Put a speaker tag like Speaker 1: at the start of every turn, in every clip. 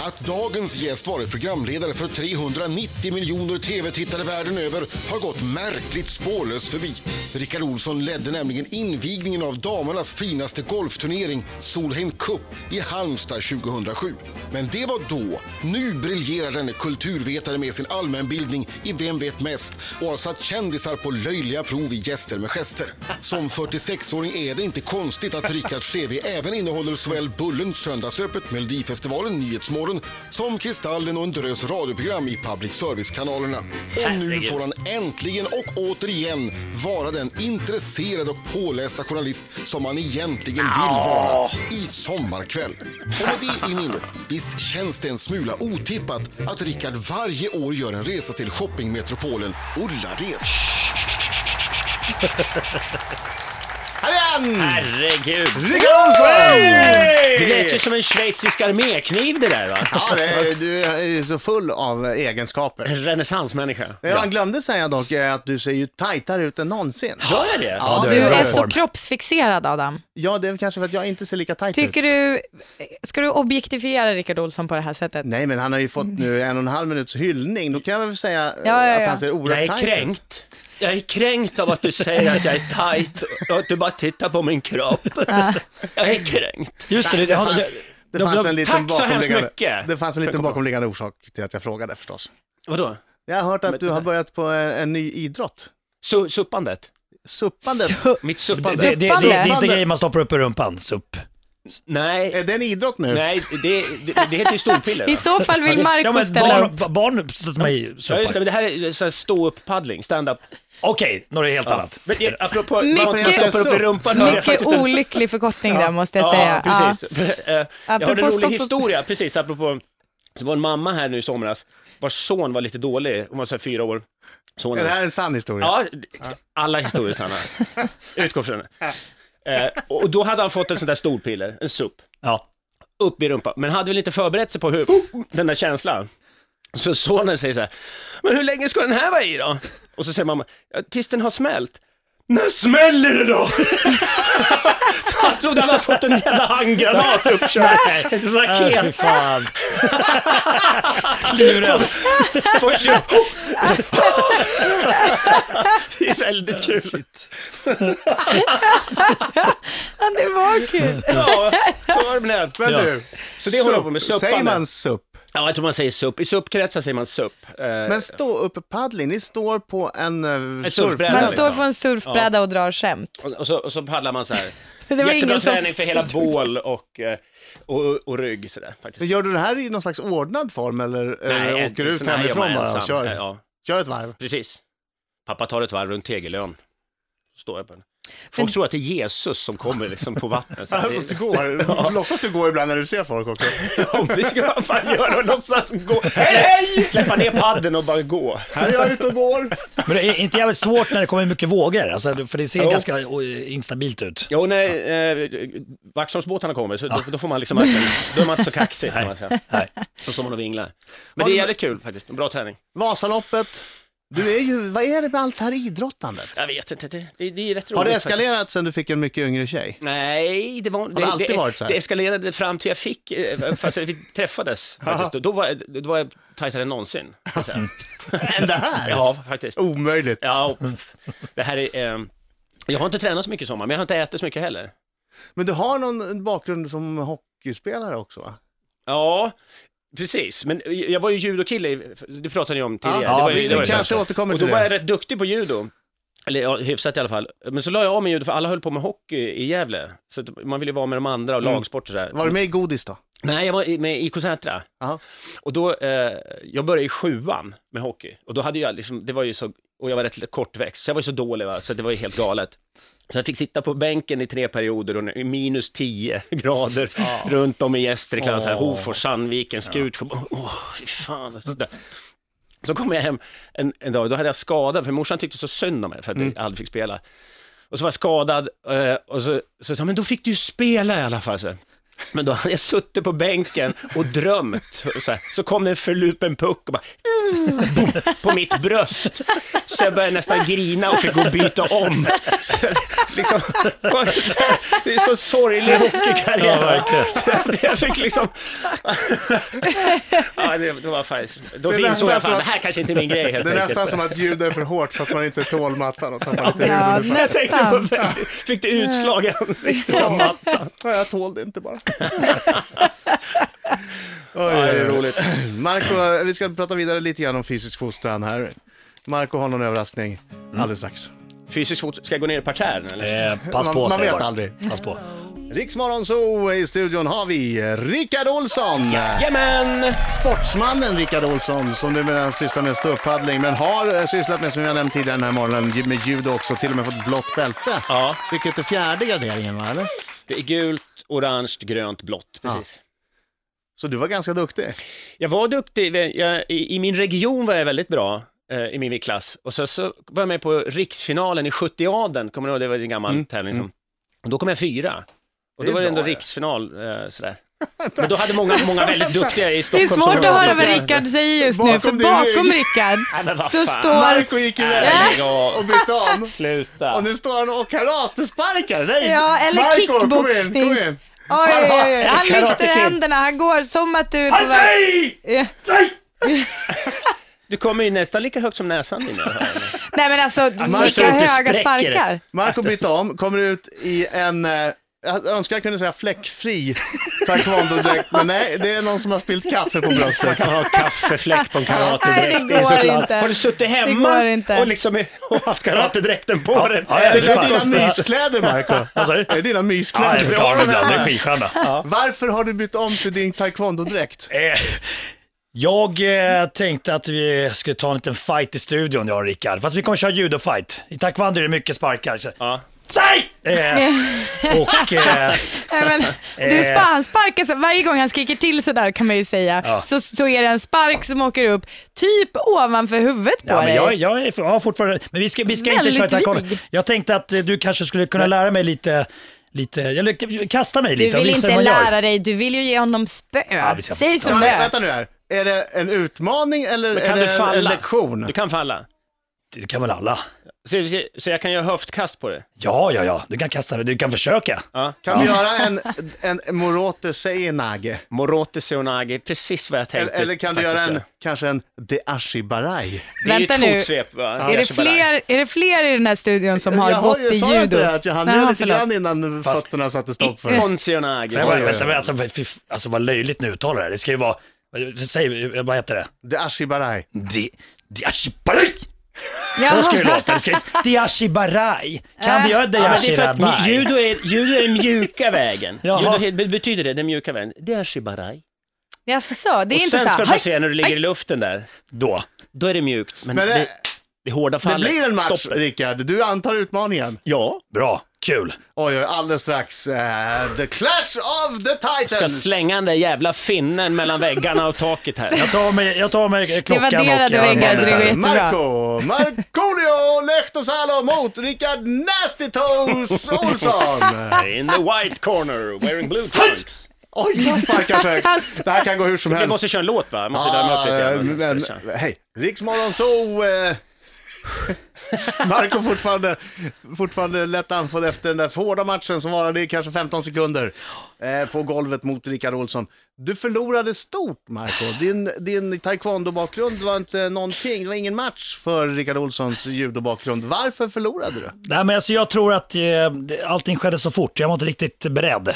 Speaker 1: Att dagens gäst varit programledare för 390 miljoner tv-tittare världen över har gått märkligt spårlöst förbi. Rickard Olsson ledde nämligen invigningen av damernas finaste golfturnering, Solheim Cup, i Halmstad 2007. Men det var då. Nu briljerar denne kulturvetare med sin allmänbildning i Vem vet mest och har satt kändisar på löjliga prov i Gäster med gester. Som 46-åring är det inte konstigt att Rickards CV även innehåller såväl Bullen, Söndagsöppet, Melodifestivalen, Nyhetsmorgon som Kristallen och en drös radioprogram i public service-kanalerna. Och nu får han äntligen och återigen vara den intresserade och pålästa journalist som han egentligen vill vara i Sommarkväll. Och med det i minnet, visst känns det en smula otippat att Rickard varje år gör en resa till shoppingmetropolen Ullared.
Speaker 2: Här är han!
Speaker 3: Herregud.
Speaker 2: Rickard Olsson!
Speaker 3: Det lät ju som en schweizisk armékniv det där va?
Speaker 2: Ja, det är, du är så full av egenskaper.
Speaker 3: En renässansmänniska.
Speaker 2: Jag glömde säga dock eh, att du ser ju tajtare ut än någonsin.
Speaker 3: Gör jag det?
Speaker 2: Ja,
Speaker 4: Du
Speaker 2: bra
Speaker 4: är
Speaker 2: form.
Speaker 4: så kroppsfixerad Adam.
Speaker 2: Ja, det är kanske för att jag inte ser lika tajt
Speaker 4: Tycker
Speaker 2: ut.
Speaker 4: du, ska du objektifiera Rickard Olsson på det här sättet?
Speaker 2: Nej, men han har ju fått nu en och en halv minuts hyllning. Då kan jag väl säga eh,
Speaker 4: Ja, ja,
Speaker 2: att
Speaker 4: ja.
Speaker 2: han ser
Speaker 3: Jag
Speaker 2: oerhört
Speaker 3: är
Speaker 2: tajt ut.
Speaker 3: kränkt. Jag är kränkt av att du säger att jag är tajt och att du bara tittar på min kropp. Jag är kränkt.
Speaker 5: Just det, det,
Speaker 2: Det
Speaker 5: har-
Speaker 2: fanns, det fanns en liten
Speaker 3: Tack så hemskt
Speaker 2: bakomliggande,
Speaker 3: mycket.
Speaker 2: det fanns en
Speaker 3: Tack,
Speaker 2: liten
Speaker 3: kom på.
Speaker 2: bakomliggande orsak till att jag frågade förstås.
Speaker 3: Vadå?
Speaker 2: Jag har hört att
Speaker 3: Men-
Speaker 2: du har börjat på en, en ny idrott.
Speaker 3: Su- suppandet?
Speaker 2: Suppandet.
Speaker 4: Så,
Speaker 3: Mitt
Speaker 5: det,
Speaker 3: suppande?
Speaker 5: det, det, det, det är inte
Speaker 2: Suppande.
Speaker 5: grejer man stoppar upp i rumpan, supp.
Speaker 3: nej,
Speaker 2: Är det en idrott nu?
Speaker 3: nej, det, det, det heter ju storpiller. va?
Speaker 4: I så fall vill
Speaker 5: Ja,
Speaker 4: Marco
Speaker 5: men
Speaker 4: ställa upp.
Speaker 5: barn, barn stöter mig i
Speaker 3: Ja just det,
Speaker 5: suppar.
Speaker 3: men det här är så här stå-upp-paddling, stand-up.
Speaker 5: Okej, något helt annat.
Speaker 3: Men det, apropå
Speaker 4: Mycket-
Speaker 3: vad man stoppar upp i rumpan. hörde jag
Speaker 4: Mycket
Speaker 3: faktiskt en-
Speaker 4: olycklig förkortning där måste jag säga.
Speaker 3: Ja, precis. Eh, jag hörde en
Speaker 4: Apropå
Speaker 3: rolig
Speaker 4: stopp-
Speaker 3: historia, precis, apropå, det var en mamma här nu i somras, vars son var lite dålig, hon var så här fyra år.
Speaker 2: Är
Speaker 3: Sonen.
Speaker 2: det här en sann historia?
Speaker 3: Ja, alla historier är sanna. Utgå från det. Eh, och då hade han fått en sån där storpiller, en SUP,
Speaker 5: Ja.
Speaker 3: upp i rumpan. Men hade väl inte förberett sig på hur, den där känslan. Så sonen säger så här, men hur länge ska den här vara i då? Och så säger mamma, "Ja, tills den har smält. När smäller det då? Så han trodde han hade fått en jävla handgranat uppkörd. En
Speaker 5: Äh,
Speaker 3: raket.
Speaker 5: fan. Kluren.
Speaker 3: Först så- Det är väldigt kul.
Speaker 4: Ja, det var kul.
Speaker 3: Ja, så var det med det.
Speaker 2: Men
Speaker 5: Ja.
Speaker 2: du,
Speaker 3: Så det håller jag
Speaker 2: supp.
Speaker 3: på med,
Speaker 2: Säger
Speaker 3: suppande.
Speaker 2: man supp?
Speaker 3: Ja, jag tror man säger SUP. I SUP-kretsar säger man SUP. Eh,
Speaker 2: Men stå upp paddling, ni står på en uh,
Speaker 3: surfbräda.
Speaker 4: Man
Speaker 3: Ja,
Speaker 4: står
Speaker 3: liksom.
Speaker 4: på en surfbräda och drar skämt.
Speaker 3: och, och, så, och så paddlar man så här.
Speaker 4: Det var
Speaker 3: Jättebra
Speaker 4: ingen som...
Speaker 3: träning för hela bål och, eh, och, och rygg sådär faktiskt.
Speaker 2: Men gör du det här i någon slags ordnad form eller, eller åker du ut
Speaker 3: sån här gör man
Speaker 2: hemifrån bara
Speaker 3: ensam.
Speaker 2: och kör?
Speaker 3: Eh, Ja,
Speaker 2: Kör ett varv.
Speaker 3: precis. Pappa tar ett varv runt Tegelön. Står jag på den. Folk tror att det är Jesus som kommer liksom på vattnet. Så att
Speaker 2: Alltså,
Speaker 3: det,
Speaker 2: du går. Låtsas du går ibland när du ser folk också.
Speaker 3: om vi ska vad fan göra och låtsas gå. Slä, släppa ner padden och bara gå.
Speaker 2: Här är jag ute och går.
Speaker 5: Men det är inte jävligt svårt när det kommer mycket vågor, alltså, för det ser
Speaker 3: Jo.
Speaker 5: ganska eh, instabilt ut.
Speaker 3: Jo, när eh, Waxholmsbåtarna kommer så då, då får man liksom, då är man inte så kaxig kan man säga.
Speaker 5: Nej.
Speaker 3: Då står man och vinglar. Men det är jävligt kul faktiskt, en bra träning.
Speaker 2: Vasaloppet. Du är ju, vad är det med allt det här idrottandet?
Speaker 3: Jag vet inte, det, det, det är rätt roligt
Speaker 2: Har det
Speaker 3: faktiskt.
Speaker 2: eskalerat sen du fick en mycket yngre tjej?
Speaker 3: Nej, det var
Speaker 2: det alltid varit så här?
Speaker 3: Det eskalerade fram till jag fick, eh, fast vi träffades faktiskt. Då, då, var, jag- då var jag tajtare än någonsin. kan jag säga.
Speaker 2: Än det här?
Speaker 3: Ja, faktiskt.
Speaker 2: Omöjligt.
Speaker 3: Ja, och, det här är... Eh, jag har inte tränat så mycket i sommar, men jag har inte ätit så mycket heller.
Speaker 2: Men du har någon bakgrund som hockeyspelare också va?
Speaker 3: Ja, precis. Men jag var ju judokille, i- det pratade jag om tidigare.
Speaker 2: Ja,
Speaker 3: det var ju,
Speaker 2: vi
Speaker 3: det var ju så här.
Speaker 2: kanske återkommer
Speaker 3: Och då
Speaker 2: till
Speaker 3: var jag
Speaker 2: det.
Speaker 3: rätt duktig på judo. Eller ja, hyfsat i alla fall. Men så la jag av med judo för alla höll på med hockey i Gävle. Så att man ville ju vara med de andra och
Speaker 2: Mm.
Speaker 3: lagsport och sådär.
Speaker 2: Var du med i Godis då?
Speaker 3: Nej, jag var i- med i IK Sätra.
Speaker 2: Aha.
Speaker 3: Och då, eh, jag började i sjuan med hockey. Och då hade jag liksom, det var ju så, och jag var rätt kortväxt, så jag var ju så dålig va, så det var ju helt galet. Så jag fick sitta på bänken i tre perioder och i minus 10 grader runt om i Gästrikland, så här, Hofors, Sandviken, Skutskär. Åh, fy fan. Så där. Så kom jag hem en, en dag, då hade jag skadad, för morsan tyckte så synd om mig för att
Speaker 5: Mm.
Speaker 3: jag aldrig fick spela. Och så var jag skadad eh, och så, så sa jag, men då fick du ju spela i alla fall. Så. här. Men då hade jag suttit på bänken och drömt. Och så, här, så kom det en förlupen puck och bara zzz, boom, på mitt bröst. Så jag började nästan grina och fick gå och byta om. liksom, det är så sorglig
Speaker 5: Ja,
Speaker 3: hockeykarriär.
Speaker 5: verkligen.
Speaker 3: jag fick liksom... ja, det, det var faktiskt... Då
Speaker 2: Det är
Speaker 5: alltså
Speaker 3: insåg jag fan,
Speaker 2: nästan som-
Speaker 3: det här kanske inte är min grej helt
Speaker 2: Det är
Speaker 3: enkelt.
Speaker 2: nästan som att ljuda är för hårt för att man inte tål mattan och tappar lite huvud.
Speaker 4: Ja,
Speaker 3: Jag tänkte på
Speaker 4: nästan.
Speaker 3: väldigt- fick det utslag i ansiktet av mattan.
Speaker 2: Ja, jag tål det inte bara. Oj, det är roligt. Marco, vi ska prata vidare lite grann om fysisk fostran här. Marco har någon överraskning alldeles strax.
Speaker 3: Fysisk fot, ska jag gå ner i parterren eller?
Speaker 5: Eh, pass
Speaker 2: Man-
Speaker 5: på
Speaker 2: man
Speaker 5: säger jag
Speaker 2: vet
Speaker 5: bara.
Speaker 2: aldrig.
Speaker 5: Pass på.
Speaker 2: Riksmorgon så i studion har vi Rickard Olsson. Eh,
Speaker 3: Jajamän!
Speaker 2: Sportsmannen Rickard Olsson som numera sysslar med ståupppaddling men har eh, sysslat med, som jag nämnt tidigare den här morgonen, ju- med judo också, till och med fått blått bälte.
Speaker 3: Ja.
Speaker 2: Vilket är fjärde graderingen va, eller?
Speaker 3: Det är gult, orange, grönt, blått. Precis.
Speaker 2: Så du var ganska duktig.
Speaker 3: Jag var duktig, jag, i, i min region var jag väldigt bra eh, i min viktklass. Och så, så var jag med på riksfinalen i 70-aden, kommer du ihåg? Det var en gammal tävling. Som, och då kom jag fyra. Och
Speaker 2: Mm. Det
Speaker 3: då var
Speaker 2: är
Speaker 3: det
Speaker 2: bra,
Speaker 3: ändå
Speaker 2: ja.
Speaker 3: riksfinal eh, sådär. Men då hade många, många väldigt duktiga i
Speaker 4: Det är
Speaker 3: Stockholm. som
Speaker 4: svårt att
Speaker 3: var
Speaker 4: höra vad
Speaker 3: duktiga.
Speaker 4: Rickard säger just nu, för
Speaker 2: Bakom din rygg.
Speaker 4: bakom Rickard
Speaker 3: Nej, men vad
Speaker 4: så
Speaker 3: fan.
Speaker 4: står...
Speaker 2: Marco gick
Speaker 3: Nej,
Speaker 2: iväg
Speaker 3: lägg av.
Speaker 2: och bytte om.
Speaker 3: Sluta.
Speaker 2: Och nu står han och karatesparkar dig!
Speaker 4: Ja, eller
Speaker 2: Marco, kom in,
Speaker 4: kickboxning.
Speaker 2: kom in!
Speaker 4: Oj, oj, oj. Han
Speaker 3: Karate
Speaker 4: lyfter
Speaker 3: Kid.
Speaker 4: händerna, han går som att du... Han
Speaker 3: Du kommer ju nästan lika högt som näsan din.
Speaker 4: Nej men alltså,
Speaker 3: man
Speaker 4: vilka
Speaker 3: ser inte
Speaker 4: höga
Speaker 3: sträcker.
Speaker 4: sparkar.
Speaker 2: Marco bytte om, kommer ut i en, eh, jag önskar jag kunde säga fläckfri taekwondo-dräkt, men nej, det är någon som har spillt kaffe på bröstet.
Speaker 3: Man har kaffefläck på en karatedräkt.
Speaker 4: Nej, det går
Speaker 3: såklart.
Speaker 4: inte.
Speaker 3: Har du suttit
Speaker 4: går
Speaker 3: hemma
Speaker 4: inte.
Speaker 3: och, liksom, och haft karatedräkten på dig?
Speaker 5: ja, ja,
Speaker 2: Det
Speaker 3: det
Speaker 5: fan.
Speaker 2: är dina myskläder, Marco.
Speaker 5: Vad sa du?
Speaker 2: Det är dina
Speaker 5: Ja, det
Speaker 2: myskläder.
Speaker 5: är bra ibland. Det är skitstjärna.
Speaker 2: Varför har du bytt om till din taekwondo-dräkt?
Speaker 5: Eh, Jag eh, tänkte att vi skulle ta en liten fight i studion, jag och Rickard. Fast vi kommer köra judo-fight. I taekwondo är det mycket sparkar. Så.
Speaker 3: Ja.
Speaker 5: Säg! Eh, och eh,
Speaker 4: Nej, men, du spa, han sparkar så, varje gång han skriker till sådär kan man ju säga,
Speaker 5: Ja.
Speaker 4: så, så är det en spark som åker upp typ ovanför huvudet på
Speaker 5: ja, men
Speaker 4: dig.
Speaker 5: jag, jag, är, jag har fortfarande... Men vi ska, vi ska inte
Speaker 4: Väldigt
Speaker 5: köra taekwondo.
Speaker 4: vig.
Speaker 5: Jag tänkte att eh, du kanske skulle kunna lära mig lite, lite eller k- kasta mig
Speaker 4: du
Speaker 5: lite och
Speaker 4: vill
Speaker 5: visa hur
Speaker 4: inte
Speaker 5: man gör.
Speaker 4: lära dig, du vill ju ge honom spö.
Speaker 5: Ja, vi ska-
Speaker 4: Säg som
Speaker 2: Men
Speaker 4: det är.
Speaker 2: Vänta nu här, är det en utmaning eller
Speaker 3: Men kan
Speaker 2: är
Speaker 3: du
Speaker 2: det en, en
Speaker 3: falla?
Speaker 2: lektion?
Speaker 3: Du kan falla.
Speaker 5: Det kan väl alla?
Speaker 3: Så, så, så jag kan göra höftkast på det?
Speaker 5: Ja, ja, ja. Du kan kasta det. Du kan försöka.
Speaker 3: Ja.
Speaker 2: Kan du göra en, en Morote Seinage?
Speaker 3: Morote Seonagi, precis vad jag tänkte.
Speaker 2: Eller, eller kan du göra
Speaker 3: faktiskt
Speaker 2: en,
Speaker 3: göra.
Speaker 2: kanske en Deashi Barai?
Speaker 3: Det är ju
Speaker 4: Vänta
Speaker 3: ett
Speaker 4: nu.
Speaker 3: fotsvep, va?
Speaker 4: Är det,
Speaker 3: Kanske bara-
Speaker 4: fler, är det fler i den här studion som har
Speaker 2: jag
Speaker 4: gått
Speaker 2: ju-
Speaker 4: i
Speaker 2: sa jag
Speaker 4: judo?
Speaker 2: inte det, att jag hann
Speaker 4: Nej,
Speaker 2: ju
Speaker 4: ja,
Speaker 2: lite
Speaker 4: förlåt.
Speaker 2: grann innan
Speaker 5: Fast-
Speaker 2: fötterna satte stopp för det.
Speaker 3: Ippon Seonagi.
Speaker 5: Men jag bara,
Speaker 2: ja, ja.
Speaker 5: vänta, men alltså, fy- fy- alltså vad löjligt nu uttalar det här. Det ska ju vara... Säg, vad heter det?
Speaker 2: Deashi Barai.
Speaker 5: Di- Diashibarai! Så
Speaker 4: Jaha.
Speaker 5: ska det låta. Det ska, diashibarai. Kan du göra
Speaker 3: Äh. Ja, men det är för att
Speaker 5: diashibarai?
Speaker 3: mj- judo är, judo är den mjuka vägen.
Speaker 5: Jaha.
Speaker 3: Judo he- betyder det, den mjuka vägen? Det är shibarai.
Speaker 4: Jaså, det är
Speaker 3: Och
Speaker 4: inte
Speaker 3: sen
Speaker 4: så
Speaker 3: ska
Speaker 4: här,
Speaker 3: du
Speaker 4: "Hej!"
Speaker 3: få se när du ligger i luften där.
Speaker 5: Då.
Speaker 3: Då är det mjukt, men,
Speaker 2: Men det-
Speaker 3: det, det hårda
Speaker 2: Det
Speaker 3: fallet.
Speaker 2: blir en match,
Speaker 3: Stoppet.
Speaker 2: Rickard. Du antar utmaningen.
Speaker 3: Ja,
Speaker 5: Bra. Kul.
Speaker 2: Oj, oj, alldeles strax. eh, the Clash of the Titans!
Speaker 3: ska slänga den där jävla finnen mellan väggarna och taket här.
Speaker 5: Jag tar mig, jag tar mig klockan och...
Speaker 4: vadderade
Speaker 5: jag-
Speaker 4: väggar, så det går jättebra.
Speaker 2: Marco, Markoolio Lehtosalo mot Rickard Nasty Toes Olsson.
Speaker 3: In the white corner, wearing blue trunks.
Speaker 2: Oj, han sparkar sig. Det här kan gå hur som
Speaker 3: Vi
Speaker 2: helst.
Speaker 3: måste köra en låt va? Alltså, Jag Måste värma upp
Speaker 2: Ah,
Speaker 3: lite grann.
Speaker 2: men, hej, Riksmorgon så... Eh, Marco fortfarande, fortfarande lätt andfådd efter den där hårda matchen som varade i kanske 15 sekunder eh, på golvet mot Rickard Olsson. Du förlorade stort, Marco. Din, din taekwondo-bakgrund var inte någonting. Det var ingen match för Rickard Olssons judobakgrund. Varför förlorade du?
Speaker 5: Nej, men alltså, jag tror att eh, det- allting skedde så fort. Jag var inte riktigt beredd.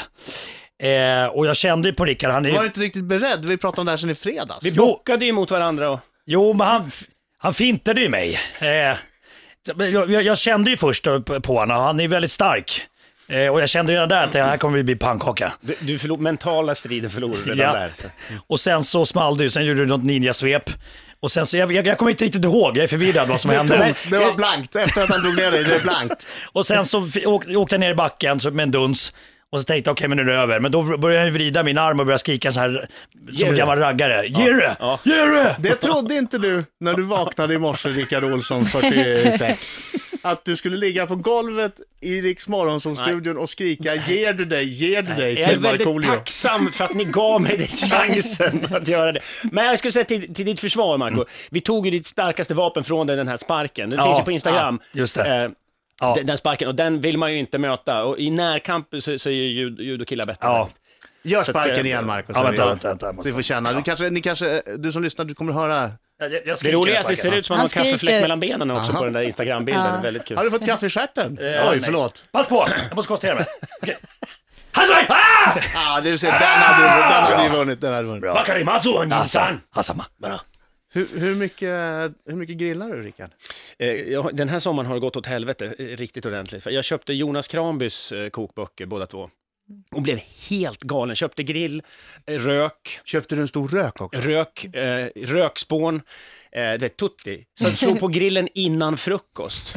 Speaker 5: Eh, och jag kände ju på Rickard, han är
Speaker 2: Var du
Speaker 5: ju...
Speaker 2: inte riktigt beredd? Vi pratade om det här sedan i fredags.
Speaker 3: Vi bockade ju mot varandra och...
Speaker 5: Jo, men han, han fintade ju mig. Eh, så- men jag, jag- jag kände ju först på på honom, han är väldigt stark. Eh, och jag kände redan där att det här kommer vi bli pannkaka.
Speaker 3: Du, du förlor, mentala striden förlorade redan
Speaker 5: Ja.
Speaker 3: där.
Speaker 5: Och sen så small du, sen gjorde du något ninjasvep. Och sen så, jag, jag, jag kommer inte riktigt ihåg, jag är förvirrad vad som hände.
Speaker 2: Det var blankt. Efter att han drog ner dig, det är blankt.
Speaker 5: Och sen så f- åk, åkte jag ner i backen så, med en duns. Och så tänkte jag, okej men nu är det över. Men då började jag vrida min arm och började skrika så här som en
Speaker 3: det.
Speaker 5: gammal raggare. Ge det! Ge det!
Speaker 2: Det trodde inte du när du vaknade i morse, Rickard Olsson, 46. Att du skulle ligga på golvet i Riks Morgonzoo-studion och skrika ger du dig, ger du dig
Speaker 3: Jag är
Speaker 2: till
Speaker 3: väldigt
Speaker 2: Markoolio.
Speaker 3: tacksam för att ni gav mig den chansen att göra det. Men jag skulle säga till, till ditt försvar, Marco. Vi tog ju ditt starkaste vapen från dig, den här sparken. Den
Speaker 5: Mm. Ja,
Speaker 3: finns ju på Instagram.
Speaker 5: ja, just det.
Speaker 3: Eh,
Speaker 5: Ja.
Speaker 3: Den, den sparken, och den vill man ju inte möta. Och i närkamp så, så är ju jud- judokillar bättre
Speaker 5: Ja.
Speaker 3: faktiskt.
Speaker 2: Gör
Speaker 3: Så
Speaker 2: sparken
Speaker 3: att,
Speaker 2: igen Marco.
Speaker 5: Ja,
Speaker 2: säger
Speaker 5: vänta,
Speaker 2: vi.
Speaker 5: vänta, vänta. jag
Speaker 2: Så vi
Speaker 5: måste-
Speaker 2: får känna. Du, kanske, ni kanske, du som lyssnar, du kommer höra.
Speaker 5: Jag, jag, jag
Speaker 3: Det
Speaker 5: skriker
Speaker 3: roliga är
Speaker 5: den
Speaker 3: att det ser
Speaker 5: sparken.
Speaker 3: ut som att
Speaker 4: Han
Speaker 3: man har kaffefläck
Speaker 4: skriker.
Speaker 3: mellan benen också på den där Instagram-bilden.
Speaker 4: Ja.
Speaker 3: Väldigt kul.
Speaker 2: Har du fått kaffe i stjärten?
Speaker 5: Eh,
Speaker 2: Oj,
Speaker 5: nej.
Speaker 2: förlåt.
Speaker 5: Pass på, jag måste konstatera mig. Okej. Hazai! Ah!
Speaker 2: Ah, det vill säga, den hade, den hade ju vunnit. Den hade vunnit.
Speaker 5: Bakari Mazu, Hassan. Hassama.
Speaker 2: Hur, hur, mycket, hur mycket grillar du Rickard?
Speaker 3: Eh, jag har- Den här sommaren har det gått åt helvete eh, riktigt ordentligt. För Jag köpte Jonas Kranbys eh, kokböcker båda två och blev helt galen. Köpte grill, eh, rök,
Speaker 2: Köpte du en stor rök också?
Speaker 3: rök, eh, rökspån, eh, det är tutti. Så jag slog på grillen innan frukost.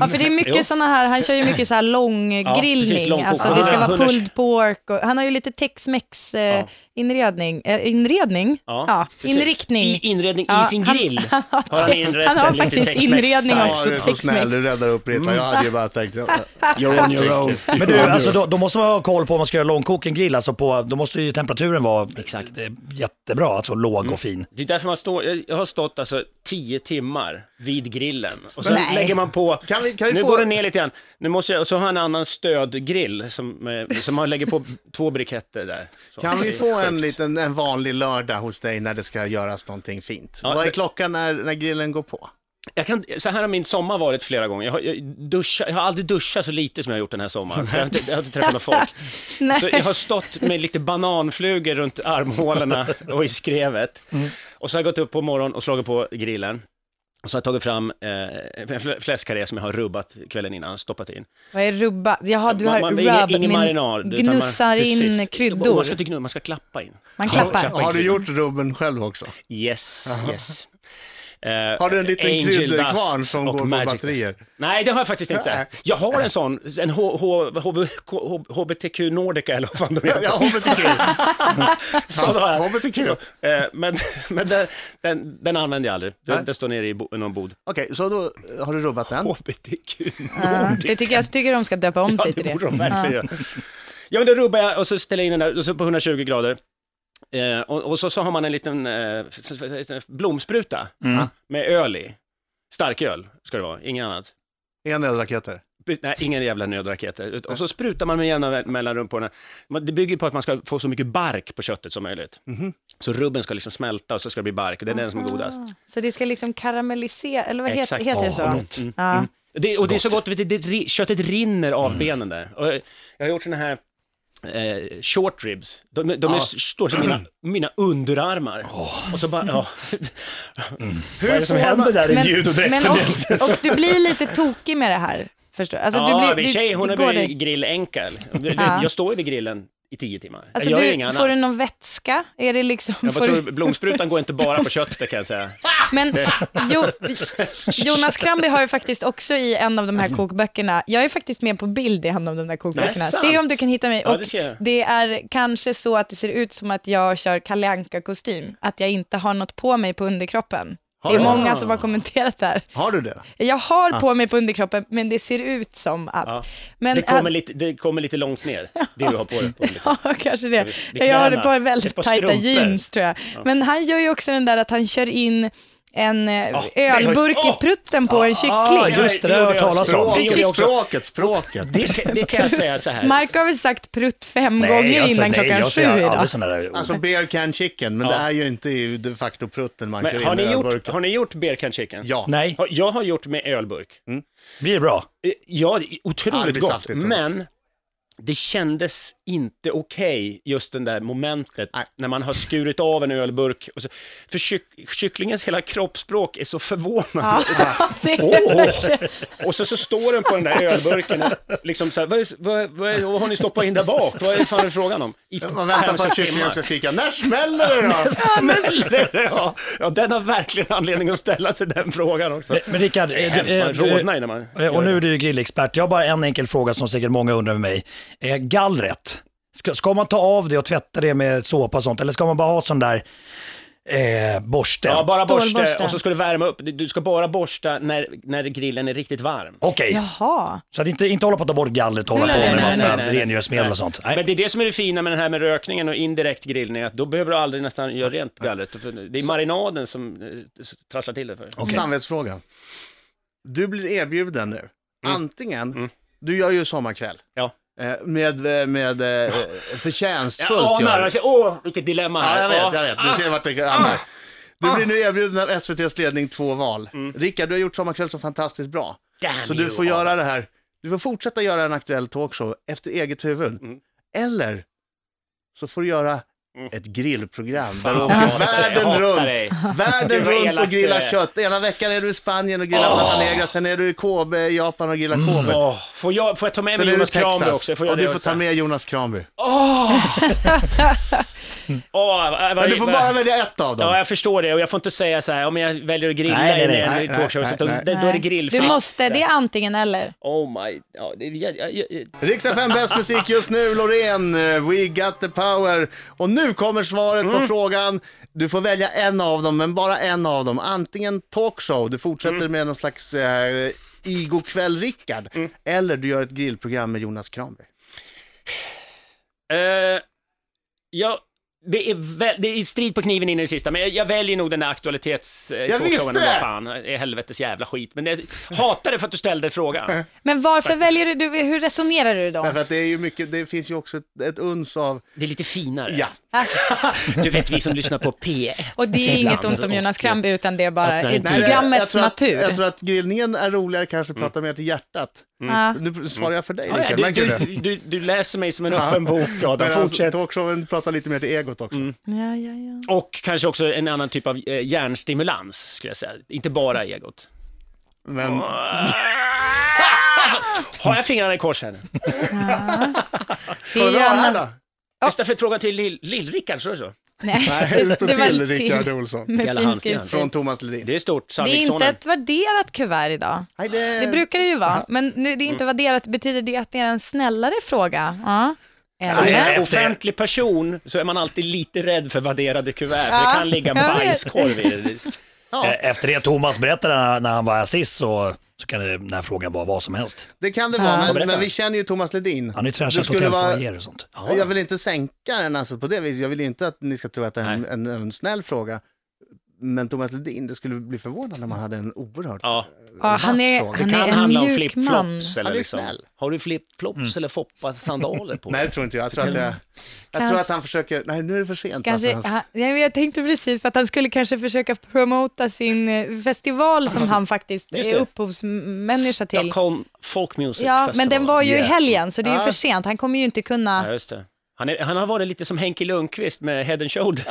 Speaker 4: Ja, för det är
Speaker 3: Jo.
Speaker 4: mycket såna här, han kör ju mycket så här
Speaker 3: Ja, precis,
Speaker 4: långgrillning.
Speaker 3: lång
Speaker 4: alltså
Speaker 3: kokning.
Speaker 4: det ska
Speaker 3: Ah,
Speaker 4: vara
Speaker 3: hundra-
Speaker 4: pulled pork och, han har ju lite tex-mex eh,
Speaker 3: Ja.
Speaker 4: inredning. Eh, inredning? Ja,
Speaker 3: precis.
Speaker 4: inriktning.
Speaker 3: I inredning
Speaker 4: Ja,
Speaker 3: i sin
Speaker 4: han-
Speaker 3: grill.
Speaker 4: han har-
Speaker 3: har han inrett
Speaker 4: han har
Speaker 3: en liten
Speaker 4: faktiskt
Speaker 3: Tex-Mex
Speaker 4: inredning
Speaker 3: style.
Speaker 2: Ja,
Speaker 4: också.
Speaker 2: du är så
Speaker 4: Tex-Mex.
Speaker 2: snäll, du räddar upp Ritva. Jag hade ju bara tänkt...
Speaker 3: You're on your own.
Speaker 5: Men du, alltså, då, då måste man ha koll på om man ska göra långkoken grill. Alltså på, då måste ju temperaturen vara
Speaker 3: Exakt. Mm.
Speaker 5: eh, jättebra, alltså låg och fin.
Speaker 3: Det är därför man står, jag- jag har stått alltså tio timmar vid grillen och sen
Speaker 4: Nej.
Speaker 3: lägger man på,
Speaker 2: Kan vi- kan vi
Speaker 3: nu
Speaker 2: få-
Speaker 3: går det ner lite grann, nu måste jag, och så har jag en annan stödgrill som, eh, som man lägger på två briketter där. Så.
Speaker 2: Kan
Speaker 3: Det
Speaker 2: vi
Speaker 3: är
Speaker 2: få en
Speaker 3: sjukt.
Speaker 2: liten en vanlig lördag hos dig när det ska göras någonting fint?
Speaker 3: Ja,
Speaker 2: Vad är
Speaker 3: det-
Speaker 2: klockan när, när grillen går på?
Speaker 3: Jag kan, så här har min sommar varit flera gånger, jag har, jag, duscha, jag har aldrig duschat så lite som jag har gjort den här sommaren, jag har inte, jag har inte träffat några folk.
Speaker 4: Nej.
Speaker 3: Så jag har stått med lite bananflugor runt armhålorna och i skrevet.
Speaker 2: Mm.
Speaker 3: Och så har jag gått upp på morgonen och slagit på grillen. Och så har jag tagit fram eh, en fl- fläskkarré som jag har rubbat kvällen innan, stoppat in.
Speaker 4: Vad är rubba? Jaha, du har
Speaker 3: man,
Speaker 4: rub,
Speaker 3: ingen, ingen
Speaker 4: men
Speaker 3: marinad. utan
Speaker 4: gnussar
Speaker 3: man,
Speaker 4: in
Speaker 3: precis.
Speaker 4: kryddor.
Speaker 3: Man ska inte gnussa, man ska klappa in.
Speaker 4: Man
Speaker 2: Har,
Speaker 4: klappar.
Speaker 2: har du gjort rubben själv också?
Speaker 3: Yes, yes. Eh,
Speaker 2: Har du en liten kryddkvarn som går på batterier?
Speaker 3: Nej, det har jag faktiskt inte.
Speaker 2: Nej.
Speaker 3: Jag har en sån, en H- H- HB- H- HBTQ Nordica eller vad fan de heter.
Speaker 2: Ja, hbtq.
Speaker 3: Sån har jag.
Speaker 2: HBTQ.
Speaker 3: Eh, Men, men den, den, den använder jag aldrig. Den, den står nere i bo, någon bod.
Speaker 2: Okej, så då har du rubbat den.
Speaker 3: HBTQ
Speaker 4: Ja,
Speaker 3: Nordica.
Speaker 4: det tycker jag tycker de ska döpa om
Speaker 3: Ja,
Speaker 4: sig till
Speaker 3: det
Speaker 4: det.
Speaker 3: borde de verkligen göra. Ja, men då rubbar jag och så ställer jag in den där och så på 120 grader. Eh, och, och så, så har man en liten eh, s- s- s- blomspruta med öl i. Starköl ska det vara, inget annat.
Speaker 2: En nödraketer.
Speaker 3: Nej, ingen jävla nödraketer. Ut- Och så sprutar man med jämna väl- mellanrum på den. här. Man- Det bygger på att man ska få så mycket bark på köttet som möjligt. Så rubben ska liksom smälta och så ska det bli bark. Det är den som
Speaker 4: Ah.
Speaker 3: är godast.
Speaker 4: Så det ska liksom karamellisera, eller vad heter, heter det så?
Speaker 3: Ja, gott. Mm.
Speaker 4: Ja.
Speaker 3: Det, och det är så gott, vet du, det, ri- köttet rinner av benen där. Och jag, jag har gjort såna här eh, short ribs. De, de är, står som mina, mina underarmar. Och så bara, ja.
Speaker 4: Alltså,
Speaker 3: Vad är det som händer där
Speaker 4: Men,
Speaker 3: i ljudodräkten?
Speaker 4: men och, och du blir lite tokig med det här. Förstår du? Alltså,
Speaker 3: ja,
Speaker 4: du blir,
Speaker 3: min
Speaker 4: du-
Speaker 3: tjej hon
Speaker 4: det
Speaker 3: har
Speaker 4: går
Speaker 3: blivit
Speaker 4: dig.
Speaker 3: grillänka.
Speaker 4: Ja.
Speaker 3: Jag står ju vid grillen i tio timmar.
Speaker 4: Alltså,
Speaker 3: jag gör ju
Speaker 4: du,
Speaker 3: inget annat.
Speaker 4: får du någon vätska? Är det liksom...
Speaker 3: Jag bara
Speaker 4: får
Speaker 3: tror,
Speaker 4: du,
Speaker 3: blomsprutan går inte bara på köttet kan jag säga.
Speaker 4: men jo, Jonas Kramby har ju faktiskt också i en av de här kokböckerna, jag är faktiskt med på bild i en av de där kokböckerna.
Speaker 3: Nej, sant?
Speaker 4: Se om du kan hitta mig.
Speaker 3: Ja,
Speaker 4: Och
Speaker 3: det ska jag.
Speaker 4: det är kanske så att det ser ut som att jag kör Kalle Anka-kostym, att jag inte har något på mig på underkroppen. Det är
Speaker 2: du?
Speaker 4: många som har kommenterat där.
Speaker 2: Har du det?
Speaker 4: Jag har på mig på underkroppen, men det ser ut som att...
Speaker 3: Ah. Ja.
Speaker 4: Men,
Speaker 3: Det kommer,
Speaker 4: att-
Speaker 3: lite, det kommer lite långt ner, det du har på dig.
Speaker 4: Ja, kanske det.
Speaker 3: Vid
Speaker 4: Jag har det
Speaker 3: knäna.
Speaker 4: på
Speaker 3: Ett
Speaker 4: väldigt
Speaker 3: par
Speaker 4: tajta
Speaker 3: strumpor.
Speaker 4: jeans tror jag. Men han gör ju också den där att han kör in en eh,
Speaker 3: Ja, det har-
Speaker 4: ölburk
Speaker 3: Åh!
Speaker 4: i prutten på en
Speaker 5: Ah,
Speaker 4: kyckling.
Speaker 5: just det, det har jag hört talas om.
Speaker 3: Det gjorde
Speaker 2: Språket,
Speaker 3: jag också.
Speaker 2: språket, språket.
Speaker 3: Det, det kan jag säga så här.
Speaker 4: Mark har väl sagt prutt fem
Speaker 5: Nej,
Speaker 4: gånger
Speaker 5: alltså,
Speaker 4: innan
Speaker 5: nej,
Speaker 4: klockan
Speaker 5: jag
Speaker 4: sju
Speaker 5: säger
Speaker 4: idag.
Speaker 5: aldrig såna där ord.
Speaker 2: Alltså beer can chicken, men det är ju inte i de facto prutten man kör
Speaker 3: Men, har,
Speaker 2: in i
Speaker 3: ni gjort,
Speaker 2: ölburken.
Speaker 3: har ni gjort beer can chicken?
Speaker 2: Ja.
Speaker 5: Nej,
Speaker 3: Har- Jag har gjort med ölburk.
Speaker 5: blir det bra?
Speaker 3: Eh, Ja, det är
Speaker 2: Ja, det
Speaker 3: otroligt
Speaker 2: blir
Speaker 3: gott,
Speaker 2: saftigt, tror jag.
Speaker 3: men det kändes inte okej, just det där momentet
Speaker 2: Nej.
Speaker 3: när man har skurit av en ölburk. Och så, för kyck, kycklingens hela kroppsspråk är så förvånande.
Speaker 4: Ja, det är verkligen-
Speaker 3: Och så, så står den på den där ölburken och liksom så här, vad, är- vad, vad, är- vad har ni stoppat in där bak? Vad är fan är det frågan om? I
Speaker 2: Man
Speaker 3: fem,
Speaker 2: väntar på att
Speaker 3: sex
Speaker 2: kycklingen
Speaker 3: timmar.
Speaker 2: ska skrika, när smäller det då?
Speaker 3: Smäller det? Ja. ja, den har verkligen anledning att ställa sig den frågan också.
Speaker 5: Men Rickard,
Speaker 3: Det är
Speaker 5: eh,
Speaker 3: hemskt,
Speaker 5: eh,
Speaker 3: man rodnar ju när man
Speaker 5: eh, och
Speaker 3: gör
Speaker 5: nu
Speaker 3: det.
Speaker 5: är du ju grillexpert. Jag har bara en enkel fråga som säkert många undrar med mig. Eh, Gallret, ska, ska man ta av det och tvätta det med såpa och sånt eller ska man bara ha ett sån där eh, borsten.
Speaker 3: Ja, bara borsta
Speaker 4: Stålborste.
Speaker 3: och så ska du värma upp. Du- Du ska bara borsta när, när grillen är riktigt varm.
Speaker 5: Okej,
Speaker 4: Jaha.
Speaker 5: så att inte, inte hålla på att ta bort gallret och hålla
Speaker 4: Nej,
Speaker 5: på
Speaker 4: nej,
Speaker 5: med
Speaker 4: nej,
Speaker 5: massa
Speaker 3: nej, nej, nej.
Speaker 5: rengöringsmedel och sånt. Nej.
Speaker 3: Men det är det som är det fina med den här med rökningen och indirekt grillning, att då behöver du aldrig nästan göra rent gallret. För det är marinaden som eh, trasslar till det för dig.
Speaker 5: Okej.
Speaker 2: Samvetsfråga. Du blir erbjuden nu. Antingen, du gör ju sommarkväll.
Speaker 3: Ja.
Speaker 2: Eh, Med, eh, med eh, förtjänstfullt
Speaker 3: Jag
Speaker 2: gör
Speaker 3: anar,
Speaker 2: du.
Speaker 3: alltså, åh vilket dilemma
Speaker 2: Ja,
Speaker 3: här.
Speaker 2: jag vet, jag vet.
Speaker 3: Ah.
Speaker 2: Du ser vart det hamnar. Du blir nu erbjuden av SVTs ledning två val. Rickard, du har gjort Sommarkväll så fantastiskt bra.
Speaker 3: Damn
Speaker 2: så du
Speaker 3: you,
Speaker 2: får göra det här. Du får fortsätta göra en aktuell talkshow efter eget huvud.
Speaker 3: Mm.
Speaker 2: Eller så får du göra ett grillprogram där du åker
Speaker 3: hatar dig,
Speaker 2: världen
Speaker 3: hatar
Speaker 2: runt.
Speaker 3: dig.
Speaker 2: Världen
Speaker 3: Gud, vad
Speaker 2: runt
Speaker 3: elak
Speaker 2: och
Speaker 3: du
Speaker 2: grillar
Speaker 3: är.
Speaker 2: kött. Ena veckan är du i Spanien och grillar platanegra, sen är du i Kobe i Japan och grillar Kobe.
Speaker 3: Åh, får, jag, får jag ta med
Speaker 2: Sen
Speaker 3: mig
Speaker 2: är du i
Speaker 3: Mm. Jonas Kramby
Speaker 2: Texas
Speaker 3: också? Får jag
Speaker 2: och
Speaker 3: det
Speaker 2: du får
Speaker 3: också?
Speaker 2: ta med Jonas Kramby.
Speaker 3: Åh, vad- vad-
Speaker 2: Men du får
Speaker 3: vad-
Speaker 2: bara välja ett av dem.
Speaker 3: Ja, jag förstår det. Och jag får inte säga så här, om jag väljer att grilla
Speaker 5: Nej, nej, nej.
Speaker 3: i en
Speaker 2: Nej, nej,
Speaker 3: talkshow, så
Speaker 2: nej,
Speaker 3: att då,
Speaker 2: nej.
Speaker 3: då är det
Speaker 4: Nej.
Speaker 3: grillfritt.
Speaker 4: Du måste, det är antingen eller.
Speaker 3: Oh my... Ja, det, jag, jag, jag,
Speaker 2: Rix FM bäst musik just nu, Loreen, eh, We got the power. Och nu kommer svaret på frågan. Du får välja en av dem, men bara en av dem. Antingen talkshow, du fortsätter med någon slags eh, igokväll Rickard eller du gör ett grillprogram med Jonas Kramby.
Speaker 3: Eh, ja, det är, vä- det är strid på kniven in i det sista, men jag, jag väljer nog den där aktualitets... eh, talkshowen
Speaker 2: visste
Speaker 3: eller vad
Speaker 2: det!
Speaker 3: Fan, det är helvetes jävla skit. Men jag hatar det för att du ställde frågan.
Speaker 4: Men varför väljer du- du, hur resonerar du då?
Speaker 2: Därför att det är ju mycket, det finns ju också ett, ett uns av,
Speaker 3: Det är lite finare.
Speaker 2: ja,
Speaker 3: Du vet, vi som lyssnar på P1.
Speaker 4: Och det är
Speaker 3: ibland.
Speaker 4: inget ont om Jonas Kramby, utan det är bara
Speaker 3: Öppnar
Speaker 4: i
Speaker 3: inte.
Speaker 2: Nej, det- jag
Speaker 4: programmets
Speaker 2: tror att,
Speaker 4: natur.
Speaker 2: Jag tror att grillningen är roligare kanske att prata mer till hjärtat.
Speaker 4: Ja.
Speaker 5: Mm.
Speaker 2: Nu svarar jag för dig
Speaker 3: Ja,
Speaker 2: Rickard,
Speaker 3: ja,
Speaker 2: märker
Speaker 3: du,
Speaker 2: du det? alltså,
Speaker 3: du, du, du läser mig som en öppen bok, Adam.
Speaker 2: Medan
Speaker 3: Fortsätt.
Speaker 2: talkshowen pratar lite mer till egot också.
Speaker 4: Ja, ja, ja.
Speaker 3: Och kanske också en annan typ av eh, hjärnstimulans, skulle jag säga. Inte bara egot.
Speaker 2: Men,
Speaker 3: Alltså, har jag fingrarna i kors här nu?
Speaker 4: Det är ju annars...
Speaker 3: Istället för frågan till Lill- Lill-Rickard, så är det så?
Speaker 4: Nej,
Speaker 2: Nej, det står
Speaker 4: var
Speaker 2: till
Speaker 4: lite-
Speaker 2: Rickard Olsson.
Speaker 4: Med
Speaker 3: Galla
Speaker 4: fin
Speaker 3: handsken.
Speaker 4: skrivstil.
Speaker 2: Från Thomas Ledin.
Speaker 3: Det är stort,
Speaker 4: Det är inte
Speaker 3: Sandvikssonen.
Speaker 4: ett värderat kuvert idag.
Speaker 2: Nej,
Speaker 4: Det brukar det ju vara, men nu, det är inte värderat. Betyder det att det är en snällare fråga? Ja.
Speaker 3: Som
Speaker 5: Så är det.
Speaker 4: Eller?
Speaker 3: Alltså, en offentlig person så är man alltid lite rädd för vadderade kuvert, för
Speaker 4: Ja,
Speaker 3: det kan ligga en
Speaker 4: jag vet.
Speaker 3: bajskorv i det.
Speaker 2: Ja.
Speaker 5: Eh, Efter det Thomas berättade när- när han var här sist så, så kan det, den här frågan vara vad som helst.
Speaker 2: Det kan det vara, men,
Speaker 3: berätta.
Speaker 2: men vi känner ju Thomas Ledin.
Speaker 5: Han har ju
Speaker 2: Det
Speaker 5: trashat
Speaker 2: skulle vara-
Speaker 5: hotellfoajéer och sånt. Ja.
Speaker 2: Jag vill inte sänka den alltså på det viset. Jag vill inte att ni ska tro att det är en, en, en snäll fråga. Men Thomas Ledin, det skulle bli förvånande om han hade en oerhört
Speaker 3: Ja,
Speaker 4: Ja, han är,
Speaker 2: vass
Speaker 3: det
Speaker 4: han
Speaker 3: kan
Speaker 4: är en
Speaker 3: handla om
Speaker 4: mjuk man.
Speaker 3: flipflops. Eller
Speaker 2: Han är
Speaker 3: liksom.
Speaker 2: snäll.
Speaker 3: Har du flipflops eller Foppa-sandaler på
Speaker 2: Nej,
Speaker 3: dig?
Speaker 2: det tror inte jag. Jag tror, att, jag, jag tror
Speaker 4: Kanske-
Speaker 2: att han försöker... Nej, nu är det för sent.
Speaker 4: Kanske,
Speaker 2: alltså,
Speaker 4: han,
Speaker 2: hans...
Speaker 4: ja, men jag tänkte precis att han skulle kanske försöka promota sin eh, festival som han faktiskt
Speaker 3: Just
Speaker 4: är
Speaker 3: det.
Speaker 4: upphovsmänniska till.
Speaker 3: Stockholm Folk Music
Speaker 4: Ja,
Speaker 3: Festival.
Speaker 4: men den var ju i
Speaker 5: Yeah.
Speaker 4: helgen så det är ju
Speaker 2: Ja.
Speaker 4: för sent. Han kommer ju inte kunna...
Speaker 3: Ja, just det. Han, är, han har varit lite som Henke Lundqvist med Head and Shoulders,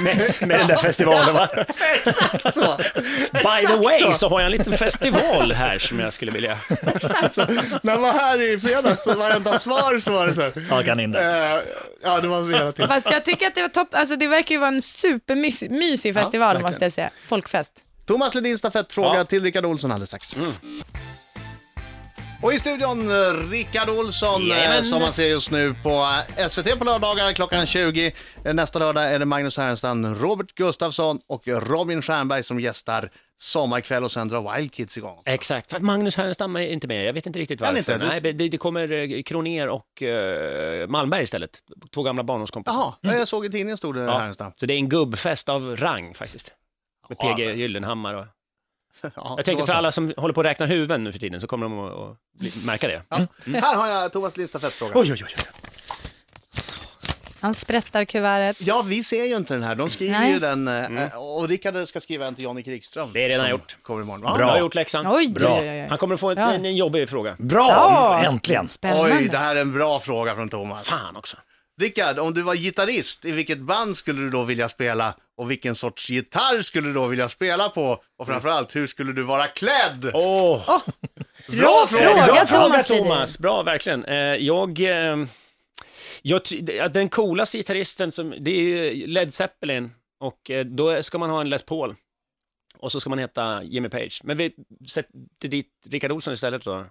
Speaker 3: med, med, med den där festivalen. Va?
Speaker 2: Exakt så!
Speaker 3: By the
Speaker 2: Exakt
Speaker 3: way
Speaker 2: så.
Speaker 3: så har jag en liten festival här som jag skulle vilja...
Speaker 2: Exakt så. När han var här i fredags, så varenda svar så var det så här.
Speaker 5: Stakade han in där.
Speaker 2: Eh, ja, det var hela tiden.
Speaker 4: Fast jag tycker att det var topp, alltså det verkar ju vara en supermysig festival
Speaker 2: verkligen.
Speaker 4: måste jag säga. Folkfest.
Speaker 2: Thomas Ledin stafettfråga
Speaker 3: Ja. Mm.
Speaker 2: till Rickard Olsson alldeles strax. Och i studion eh, Rickard Olsson eh,
Speaker 3: Jajamän.
Speaker 2: som man ser just nu på eh, SVT på lördagar klockan 20. Eh, Nästa lördag är det Magnus Härenstam, Robert Gustafsson och Robin Stjernberg som gästar Sommarkväll och sen drar Wild Kids igång.
Speaker 3: Exakt, för att Magnus Härenstam är inte med. Jag vet inte riktigt
Speaker 2: Han
Speaker 3: varför.
Speaker 2: är inte, du-
Speaker 3: Nej, men det, det kommer eh, Kroner och eh, Malmberg istället. Två gamla barndomskompisar.
Speaker 2: Jaha, ja, jag såg i tidningen stod det Härenstam.
Speaker 3: Så det är en gubbfest av rang faktiskt. Med
Speaker 2: Ja,
Speaker 3: PG Gyllenhammar och...
Speaker 2: Ja,
Speaker 3: Jag
Speaker 2: då
Speaker 3: tänkte
Speaker 2: så.
Speaker 3: för alla som håller på att räkna huvuden nu för tiden så kommer de att, att bli, märka det.
Speaker 2: Ja. Mm.
Speaker 3: Mm.
Speaker 2: Här har jag Thomas Ledins stafettfråga.
Speaker 5: Oj, oj, oj.
Speaker 4: Han sprättar kuvertet.
Speaker 2: Ja, vi ser ju inte den här. De skriver
Speaker 4: Nej.
Speaker 2: ju den eh, och Rickard ska skriva en till Janne Krigström.
Speaker 3: Mm. Det är redan
Speaker 2: som
Speaker 3: gjort.
Speaker 2: Kommer imorgon. Ja,
Speaker 3: Bra.
Speaker 5: Bra.
Speaker 3: Bra gjort läxan.
Speaker 4: Oj,
Speaker 5: Bra.
Speaker 4: oj, oj, oj.
Speaker 3: Han kommer att få en,
Speaker 4: Bra.
Speaker 3: en, en jobbig fråga.
Speaker 5: Bra!
Speaker 4: Ja.
Speaker 5: Äntligen!
Speaker 4: Spännande.
Speaker 2: Oj, det här är en bra fråga från Thomas.
Speaker 3: Fan också.
Speaker 2: Rickard, om du var gitarrist, i vilket band skulle du då vilja spela? Och vilken sorts gitarr skulle du då vilja spela på? Och framförallt, hur skulle du vara klädd?
Speaker 3: Åh!
Speaker 4: Bra fråga,
Speaker 3: Bra fråga
Speaker 4: Thomas, Thomas.
Speaker 3: Thomas, bra verkligen. Eh, Jag, eh, jag, ty- det- att den coolaste gitarristen, som, det är ju Led Zeppelin och eh, då ska man ha en Les Paul. Och så ska man heta Jimmy Page. Men vi sätter dit Rickard Olsson istället då.